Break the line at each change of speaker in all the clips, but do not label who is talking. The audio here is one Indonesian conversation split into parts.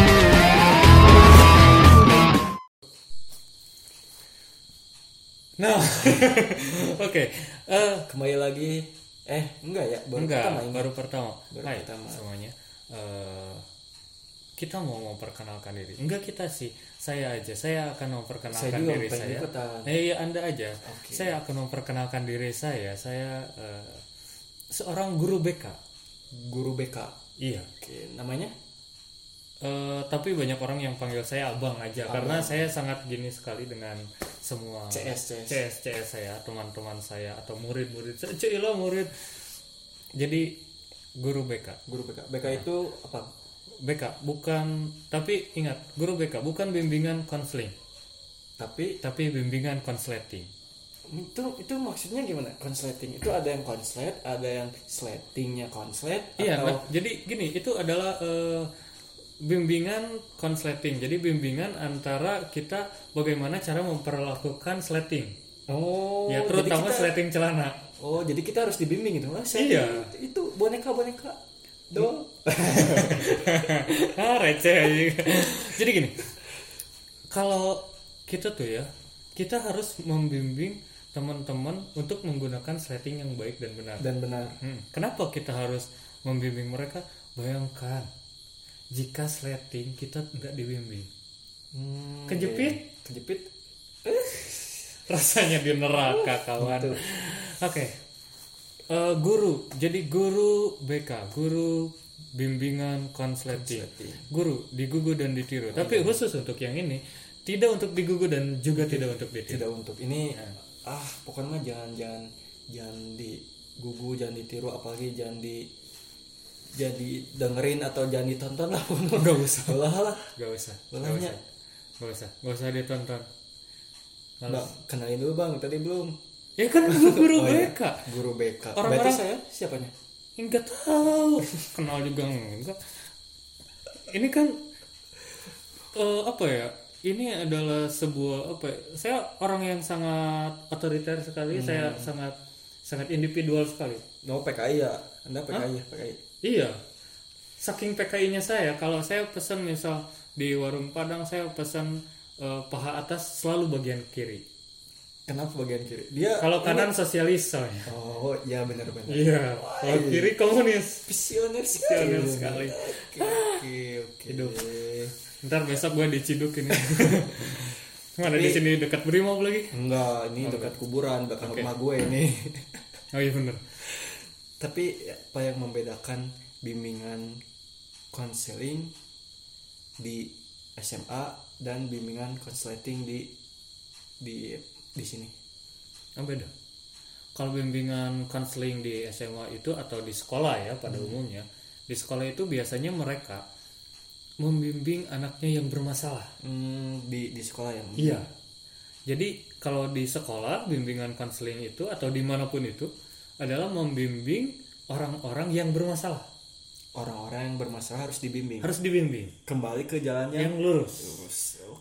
No. Oke. Eh,
Kembali lagi eh enggak ya baru
enggak,
pertama ini.
baru pertama.
Baru
Hai
pertama.
semuanya. Eh, kita mau memperkenalkan diri. Enggak kita sih. Saya aja. Saya akan memperkenalkan
Saya juga
diri
pengen
saya.
ikutan.
Eh, iya, Anda aja.
Oke.
Saya akan memperkenalkan diri saya. Saya eh, seorang guru BK.
Guru BK.
Iya.
Oke, namanya?
Eh, tapi banyak orang yang panggil saya abang aja karena saya sangat gini sekali dengan semua
CS, CS.
CS CS saya teman-teman saya atau murid-murid saya Cila murid jadi guru BK
Guru BK. BK
Iya.
itu apa?
BK bukan tapi ingat guru BK bukan bimbingan konseling
Tapi
tapi bimbingan konsleting
itu itu maksudnya gimana? Konsleting itu ada yang konslet, ada yang sletingnya konslet
Iya, nah,
atau
jadi gini, itu adalah eh, bimbingan konsleting. Jadi bimbingan antara kita bagaimana cara memperlakukan sleting.
Oh,
ya,
jadi
terutama
kita-
sleting celana.
Oh, jadi kita harus dibimbing itu. Ah, saya
Iya.
itu- Itu boneka-boneka. Do.
ah, receh aja. jadi gini. Kalau kita tuh ya, kita harus membimbing teman-teman untuk menggunakan sleting yang baik dan benar.
Dan benar.
Hmm, Kenapa kita harus membimbing mereka? Bayangkan jika sleting kita nggak dibimbing,
Hmm,
Kejepit.
iya. Kejepit.
rasanya di neraka kawan. Oke, Eh, guru. Jadi guru BK, guru bimbingan konsleting, guru digugu dan ditiru. Tapi khusus untuk yang ini tidak untuk digugu dan juga tidak untuk ditiru.
tidak untuk ini ah pokoknya mah jangan jangan jangan digugu jangan ditiru apalagi jangan di jadi dengerin atau jangan ditonton lah nggak usah lah lah
Gak usah, gak
Bolanya.
usah, gak usah, gak usah ditonton.
mbak kenalin dulu bang tadi belum
Ya kan guru, guru BK.
guru BK
Orang-orang-
berarti saya siapanya
Enggak tahu. Kenal juga enggak. Ini kan eh, apa ya? Ini adalah sebuah apa? Ya, saya orang yang sangat otoriter sekali. Saya sangat sangat individual sekali.
no PKI ya anda PKI ya PKI
Iya. Saking PKI-nya saya, kalau saya pesan misal di warung Padang saya pesan eh, paha atas selalu bagian kiri.
kenapa bagian kiri dia
Kalau kanan sosialis soalnya.
oh ya benar-benar
Iya. Kalau kiri komunis.
visioner
Visioner sekali.
sekali oke oke oke
Ntar besok gue diciduk ini. Mana di sini dekat Brimob lagi?
enggak ini dekat kuburan dekat rumah gue ini
Oh iya bener.
Tapi ya, apa yang membedakan bimbingan konseling di SMA dan bimbingan konsleting di di di sini?
Apa beda? Kalau bimbingan konseling di SMA itu atau di sekolah ya pada umumnya, di sekolah itu biasanya mereka membimbing anaknya yang bermasalah.
Hmm, di di sekolah yang
Iya. Jadi kalau di sekolah bimbingan konseling itu atau dimanapun itu adalah membimbing orang-orang yang bermasalah
orang-orang yang bermasalah harus dibimbing.
harus dibimbing
Kembali ke jalannya.
yang lurus.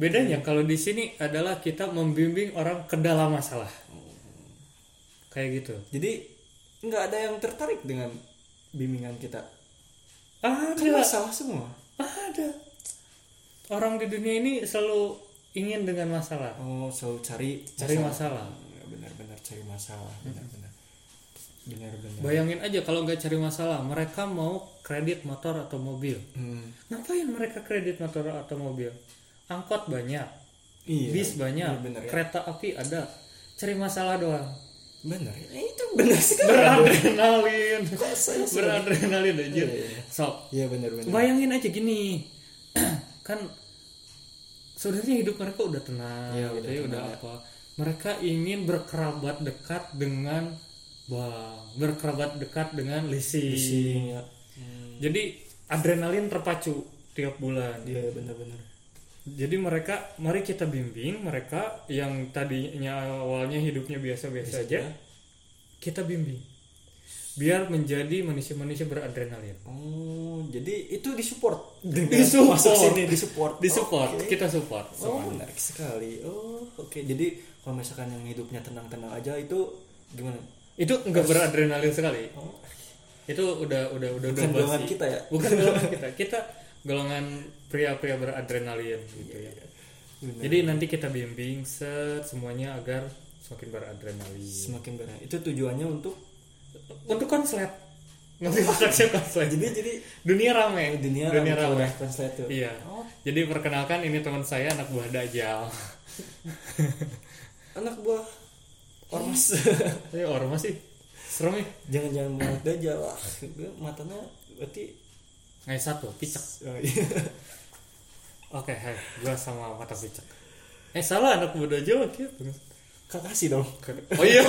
Bedanya kalau di sini adalah kita membimbing orang ke dalam masalah.
Hmm.
Kayak gitu.
Jadi nggak ada yang tertarik dengan bimbingan kita. Kan
Ada,
masalah semua.
ada. Orang di dunia ini selalu ingin dengan masalah,
Oh, selalu cari
cari masalah.
Ya, Benar-benar cari masalah. Benar-benar. Benar-benar.
Bayangin aja kalau nggak cari masalah, mereka mau kredit motor atau mobil.
Hmm,
Ngapain mereka kredit motor atau mobil? Angkot banyak,
Iya.
bis banyak,
iya bener ya.
kereta api ada. Cari masalah doang.
Benar ya? Eh, itu benar sekali.
Beradrenalin.
saya
Beradrenalin aja. Sok,
Iya benar-benar.
Bayangin aja gini, kan sebenarnya hidup mereka udah tenang,
Iya,
gitu
udah
ya, udah apa. Mereka ingin berkerabat dekat dengan bang, berkerabat dekat dengan leasing. Hmm.
Iya.
Jadi adrenalin terpacu tiap bulan.
Iya benar-benar.
Jadi mereka, mari kita bimbing mereka yang tadinya awalnya hidupnya biasa-biasa aja, kita bimbing biar menjadi manusia-manusia beradrenalin.
Oh, jadi itu disupport. Dengan
Disupport.
Masuk sini disupport.
Disupport,
Oke.
kita support.
Oh, menarik sekali. Oh, oke. Jadi kalau misalkan yang hidupnya tenang-tenang aja itu gimana?
itu enggak beradrenalin sekali
Oh.
itu udah udah udah udah
Bukan
basi.
golongan kita ya.
bukan golongan kita kita golongan pria-pria
Iya,
beradrenalin gitu ya jadi nanti kita bimbing set semuanya agar semakin beradrenalin
semakin berat itu tujuannya untuk
untuk konslet ngerti maksudnya konslet
jadi jadi
dunia ramai
dunia Oh.
dunia ramai
ramai kalau translate tuh
iya jadi perkenalkan ini teman saya anak buah dajal
anak buah ormas
saya ormas Eh, sih serem ya
jangan-jangan mata dajal ah, gue matanya berarti
Ngai satu picek
oh, iya.
oke hai gua sama mata picek eh salah anak buah dajal gitu
kakasi dong
oh iya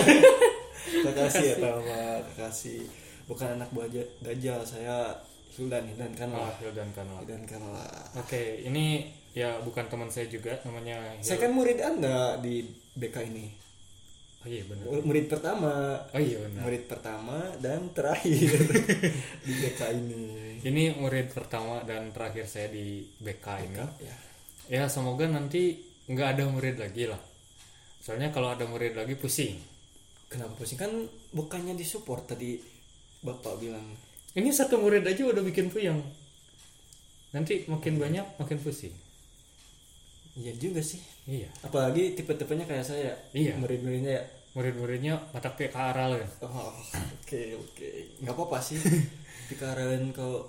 kakasi atau apa kakasi bukan anak buah Ja- dajal saya Hildan Hildan
oh,
Kanwa
Hildan Kanal oke
Hildan Kanwa
ini ya bukan teman saya juga namanya
saya
Hil-
kan murid anda di BK ini
oh iya benar
murid pertama
oh iya benar
murid pertama dan terakhir di BK ini
ini murid pertama dan terakhir saya di BK ini
ya
ya semoga nanti nggak ada murid lagi lah soalnya kalau ada murid lagi pusing
kenapa pusing kan bukannya disupport tadi bapak bilang
ini satu murid aja udah bikin puyeng nanti makin banyak makin pusing
iya juga sih
iya
apalagi tipe-tipenya kayak saya ya.
Iya.
murid-muridnya ya
murid-muridnya mata ke aral ya
Oh, oke oke nggak apa-apa sih dikarenain kalau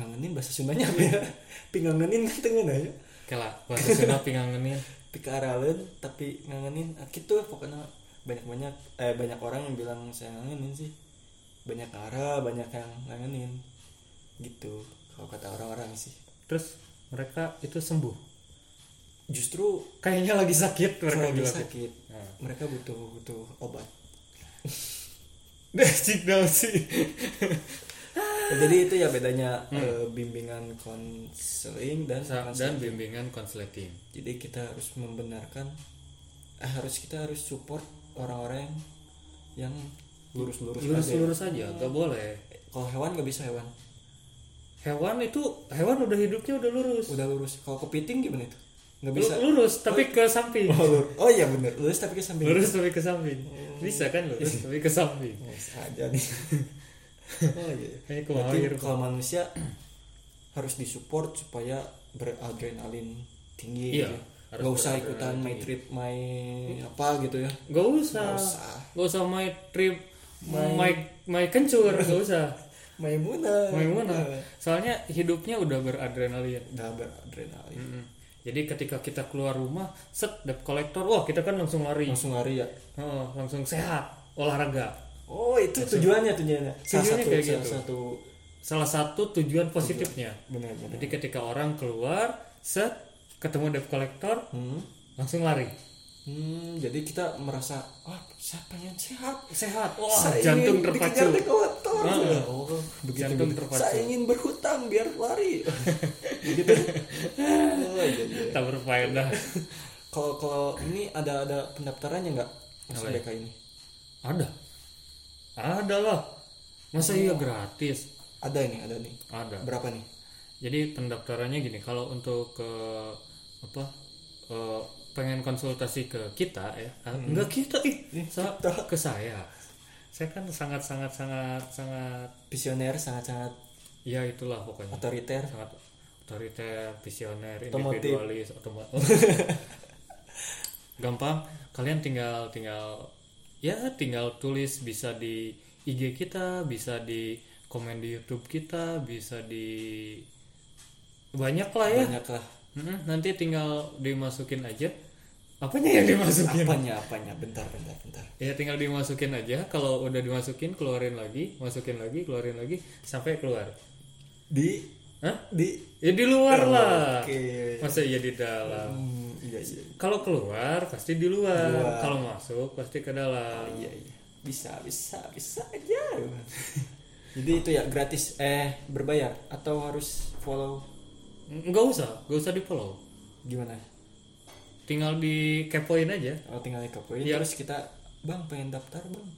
ngangenin bahasa Sundanya apa ya pingangenin kan tengen aja
oke lah bahasa Sunda pingangenin
dikarenain tapi ngangenin ah, gitu pokoknya banyak banyak eh banyak orang yang bilang saya ngangenin sih banyak arah banyak yang ngangenin gitu kalau kata orang-orang sih
terus mereka itu sembuh
justru
kayaknya lagi sakit mereka
lagi
bilang
sakit
Nah.
mereka butuh butuh obat
Dasik dong sih
jadi itu ya bedanya eh, bimbingan konseling dan
Hmm. dan bimbingan konsleting
jadi kita harus membenarkan eh, harus kita harus support orang-orang yang lurus-lurus aja.
lurus-lurus aja
Iya.
nggak boleh
kalau hewan nggak bisa hewan
hewan itu hewan udah hidupnya udah lurus
udah lurus kalau kepiting gimana itu nggak bisa
Lu- lurus tapi ke samping
oh, lur- oh iya bener lurus Oh. tapi ke samping
lurus tapi ke samping bisa kan
Iya.
lurus tapi ke samping
Lurus aja nih oh iya
kayak
Berarti
kemahir
kalau manusia harus disupport supaya beradrenalin tinggi
Iya,
gitu.
harus
nggak usah ikutan my trip my apa gitu ya
gak usah
usah.
gak usah my trip my my kencur gak usah
Maimuna Iya.
Gimana? soalnya hidupnya udah beradrenalin
udah beradrenalin
Mm. jadi ketika kita keluar rumah set debt kolektor wah kita kan langsung lari
langsung lari ya
Oh, langsung sehat olahraga
oh itu tujuannya tujuannya
Tujuannya
salah satu
kayak
salah
gitu.
satu
salah satu tujuan positifnya
benar-benar
jadi ketika orang keluar set ketemu debt kolektor
hmm.
langsung lari
Hmm, jadi kita merasa wah saya pengen sehat
sehat wah
Saya
jantung
ingin
terpacu
dikejar dekotor. Oh, begitu,
Jantung
begitu.
terpacu.
saya ingin berhutang biar lari begitu oh, iya, iya.
tak berfaedah
kalau kalau ini ada ada pendaftarannya nggak masuk BK ini
ada ada lah masa iya gratis
ada ini ada nih
ada
berapa nih
jadi pendaftarannya gini kalau untuk ke apa eh, pengen konsultasi ke kita ya ah, enggak kita ih sa- ke saya saya kan sangat sangat sangat sangat
visioner sangat-sangat
ya itulah pokoknya Eh,
otoriter
sangat otoriter, visioner,
Otomotif.
individualis, otomotif. Gampang, kalian tinggal tinggal ya tinggal tulis bisa di IG kita, bisa di komen di YouTube kita, bisa di banyak lah ya.
banyak lah
Mm-mm, nanti tinggal dimasukin aja. Apanya yang dimasukin?
apanya apanya bentar bentar bentar
Ya tinggal dimasukin aja. Kalau udah dimasukin, keluarin lagi, masukin lagi, keluarin lagi sampai keluar.
di
Hah?
di
Ya di luar lah.
oke
Masa iya di dalam?
Hmm, iya iya
Kalau keluar pasti di luar, kalau masuk pasti ke dalam.
iya iya bisa bisa bisa aja jadi itu ya gratis eh berbayar atau harus follow
Nggak usah, nggak usah di follow.
gimana
Tinggal dikepoin aja.
kalau tinggal kepoin
Iya.
terus kita bang pengen daftar bang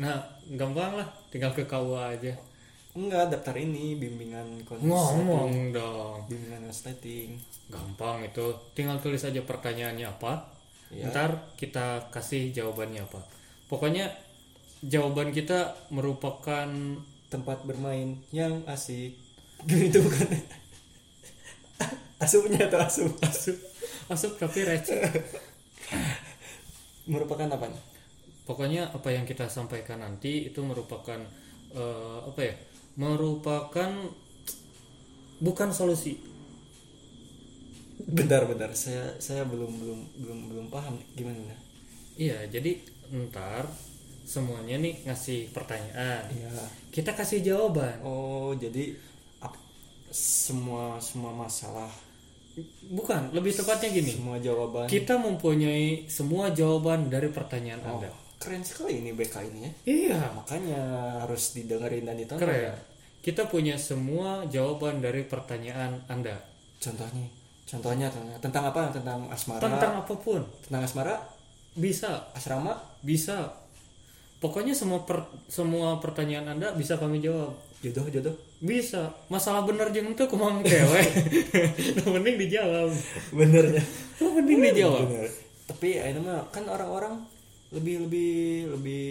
Nah, gampang lah, tinggal ke KUA aja.
enggak daftar ini bimbingan konseling
Ngomong dong.
bimbingan konseling
Gampang itu. Tinggal tulis aja pertanyaannya apa.
Iya.
Ntar kita kasih jawabannya apa. Pokoknya jawaban kita merupakan
tempat bermain yang asik gitu bukan asupnya atau asup
asup, asup tapi receh.
merupakan apa nih?
pokoknya apa yang kita sampaikan nanti itu merupakan eh, apa ya merupakan bukan solusi
Bentar, bentar. Saya saya belum belum belum belum paham nih. gimana.
iya jadi ntar semuanya nih ngasih pertanyaan
Iya.
kita kasih jawaban
Oh, jadi ap- semua semua masalah,
bukan lebih tepatnya gini
semua jawaban.
kita mempunyai semua jawaban dari pertanyaan
Oh,
anda
keren sekali ini BK ini ya.
iya
Makanya harus didengerin dan ditonton.
keren kita punya semua jawaban dari pertanyaan anda
Contohnya, contohnya tentang, tentang apa? Tentang asmara.
tentang apapun
Tentang asmara,
bisa
asrama.
bisa pokoknya semua per- semua pertanyaan anda bisa kami jawab
Jodoh, jodoh.
bisa masalah bener jeung itu kumang cewek Nah, mending dijawab
Benernya.
Nah, mending dijawab
Bener. ya. Tapi ini mah kan orang-orang lebih lebih lebih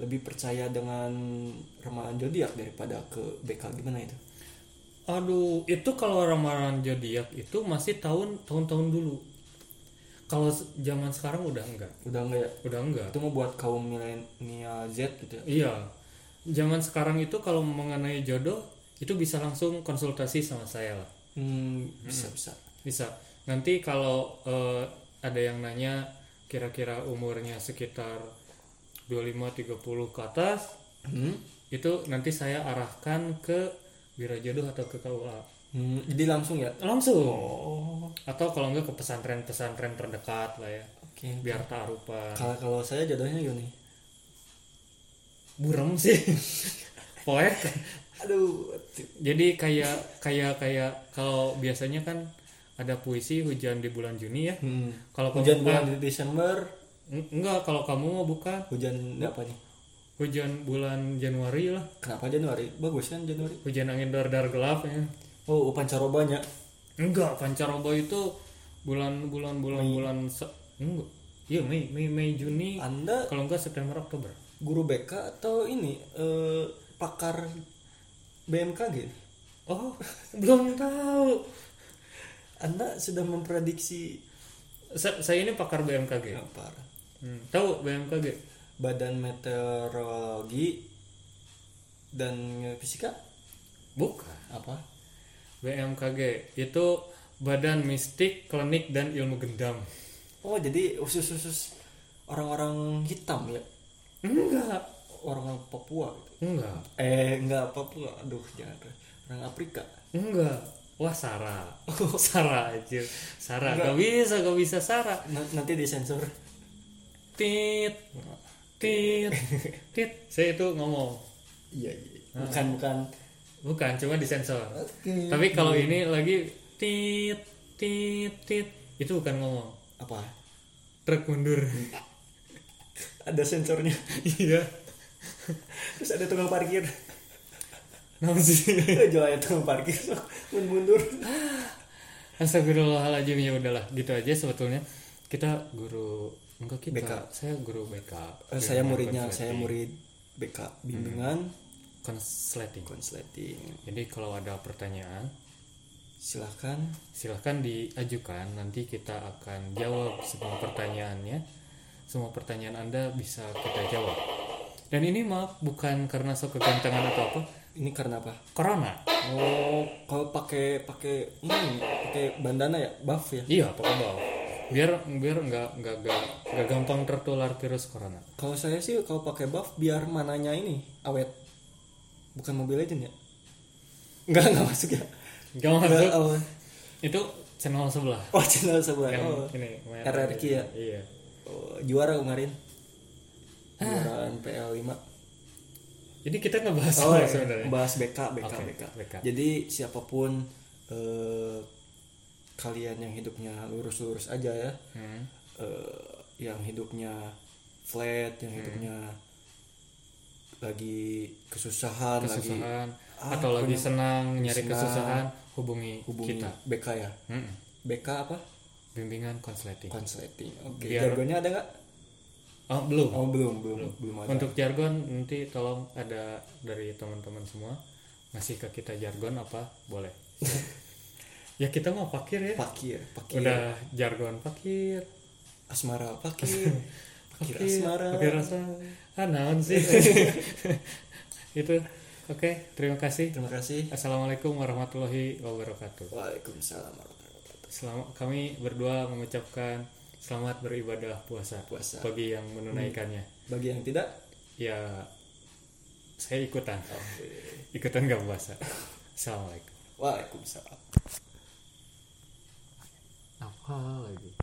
lebih percaya dengan ramalan zodiak daripada ke BK gimana itu?
aduh itu kalau ramalan zodiak itu masih tahun tahun tahun dulu kalau s- zaman sekarang udah enggak
Udah enggak ya?
udah enggak
Itu mau buat kaum milenial Z gitu ya.
iya zaman sekarang itu kalau mengenai jodoh itu bisa langsung konsultasi sama saya lah
Hmm, bisa bisa.
Bisa. Nanti kalau eh, ada yang nanya kira-kira umurnya sekitar 25 30 ke atas,
Hmm?
itu nanti saya arahkan ke Bira Jodoh atau ke KUA.
Hmm, jadi langsung ya.
Langsung.
Oh, oke.
Atau kalau enggak ke pesantren-pesantren terdekat lah ya. Biar tarupan.
Kalau kalau saya jodohnya gini.
Burem sih. Poek.
Aduh,
Jadi kayak kayak kayak kalau biasanya kan ada puisi hujan di bulan Juni ya.
hmm.
Kalau kamu
hujan
bukan,
bulan di Desember,
enggak kalau kamu mau bukan
hujan apa nih?
hujan bulan Januari lah
Kenapa Januari? Bagus kan Januari?
hujan angin dar dar gelap ya
Oh, pancarobanya.
enggak pancaroba itu bulan bulan bulan bulan se- enggak iya Mei Mei Mei Juni
Anda
kalau enggak September Oktober
guru BK atau ini eh, pakar BMKG?
oh belum tahu
Anda sudah memprediksi
Sa- saya ini pakar BMKG
apa?
Hmm, tahu BMKG
Badan meteorologi dan fisika
bukan
apa?
BMKG itu Badan Mistik Klinik dan Ilmu Gendam
Oh, jadi usus-usus orang-orang hitam ya,
enggak
orang Papua. gitu.
enggak
Eh, enggak Papua. Aduh, jangan. Orang Afrika.
enggak wah Sarah Sarah aja Sarah gak bisa gak bisa Sarah
N- nanti disensor.
tit tit tit saya itu ngomong
Iya, iya. Bukan bukan.
bukan cuma disensor
Oke.
tapi kalau ini lagi tit tit tit itu bukan ngomong
Apa?
truk mundur
Ada sensornya.
iya
Terus ada tukang parkir.
Kenapa sih
jualnya tukang parkir so, mun mundur
Astagfirullahaladzim ya udahlah gitu aja sebetulnya kita guru enggak kita
BK.
saya guru Iya, BK
Eh, saya muridnya saya murid BK bimbingan
konsleting
konsleting
jadi kalau ada pertanyaan
silahkan
silahkan diajukan nanti kita akan jawab semua pertanyaannya semua pertanyaan anda bisa kita jawab dan ini maaf bukan karena sok kegantengan atau apa
ini karena apa
corona
oh kalau pakai pakai hmm, pakai bandana ya buff ya
iya pakai bau biar biar nggak nggak nggak nggak gampang tertular virus corona
kalau saya sih kalau pakai buff biar mananya ini awet bukan mobile legend ya nggak nggak masuk ya
nggak masuk
Nggak, oh,
itu channel sebelah
oh channel sebelah
yang
oh,
ini merah.
RRQ ya
iya
Oh, juara kemarin juara NPL 5
jadi kita ngebahas
Oh,
apa
iya.
sebenarnya
bahas BK, BK,
ya. Oke,
BK.
BK.
Jadi siapapun eh, kalian yang hidupnya lurus-lurus aja ya,
Hmm.
eh, yang hidupnya flat, yang hidupnya lagi kesusahan, lagi
kesusahan
Ah,
atau lagi senang nyari
Senang.
kesusahan hubungi,
hubungi
kita
BK ya.
Mm-mm.
BK apa?
bimbingan konsleting
Konsleting. Oke.
Biar-
Jargonnya ada nggak?
Oh, belum.
Oh belum, belum, belum, ada.
Untuk jargon nanti tolong ada dari teman-teman semua ngasih ke kita jargon apa boleh. ya kita mau pakir ya.
Pakir, pakir.
Udah jargon pakir.
asmara pakir pakir asmara
Oke rasa ah naon sih itu oke terima kasih
terima kasih
assalamualaikum warahmatullahi wabarakatuh
waalaikumsalam warahmatullahi wabarakatuh
selamat kami berdua mengucapkan selamat beribadah puasa
Puasa.
bagi yang menunaikannya
bagi yang tidak
ya saya ikutan
oke
ikutan gak puasa assalamualaikum
waalaikumsalam
apa lagi